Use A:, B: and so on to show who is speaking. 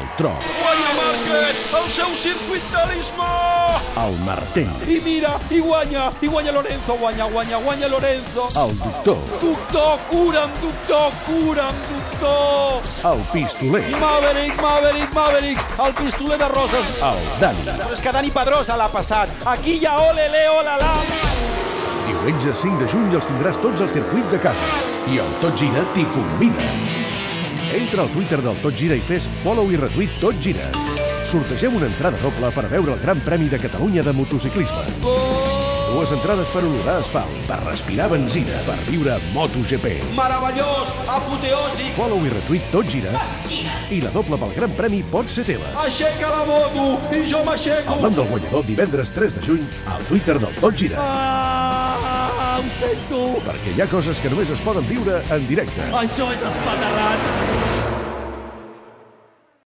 A: El tro,
B: Guanya Márquez, el seu circuit d'alisme!
A: el martell,
B: I mira, i guanya, i guanya Lorenzo, guanya, guanya, guanya Lorenzo.
A: el doctor,
B: Doctor, cura'm, doctor, cura'm, doctor!
A: el pistoler,
B: Maverick, Maverick, Maverick, el pistoler de Roses.
A: el Dani.
B: Però és que Dani Pedrosa l'ha passat. Aquí hi ha ole, le, ole, la.
A: Diumenge 5 de juny els tindràs tots al circuit de casa. I el Tot Gira t'hi convida. Entra al Twitter del Tot Gira i fes follow i retweet Tot Gira. Sortegem una entrada doble per veure el Gran Premi de Catalunya de motociclisme. Dues entrades per olorar asfalt, per respirar benzina, per viure MotoGP.
B: Meravellós, apoteòsic.
A: Follow i retweet Tot Gira. I la doble pel Gran Premi pot ser teva.
B: Aixeca la moto i jo m'aixeco.
A: El nom del guanyador divendres 3 de juny al Twitter del Tot Gira.
B: Ah, ho sento.
A: Perquè hi ha coses que només es poden viure en directe.
B: Això és espaterrat.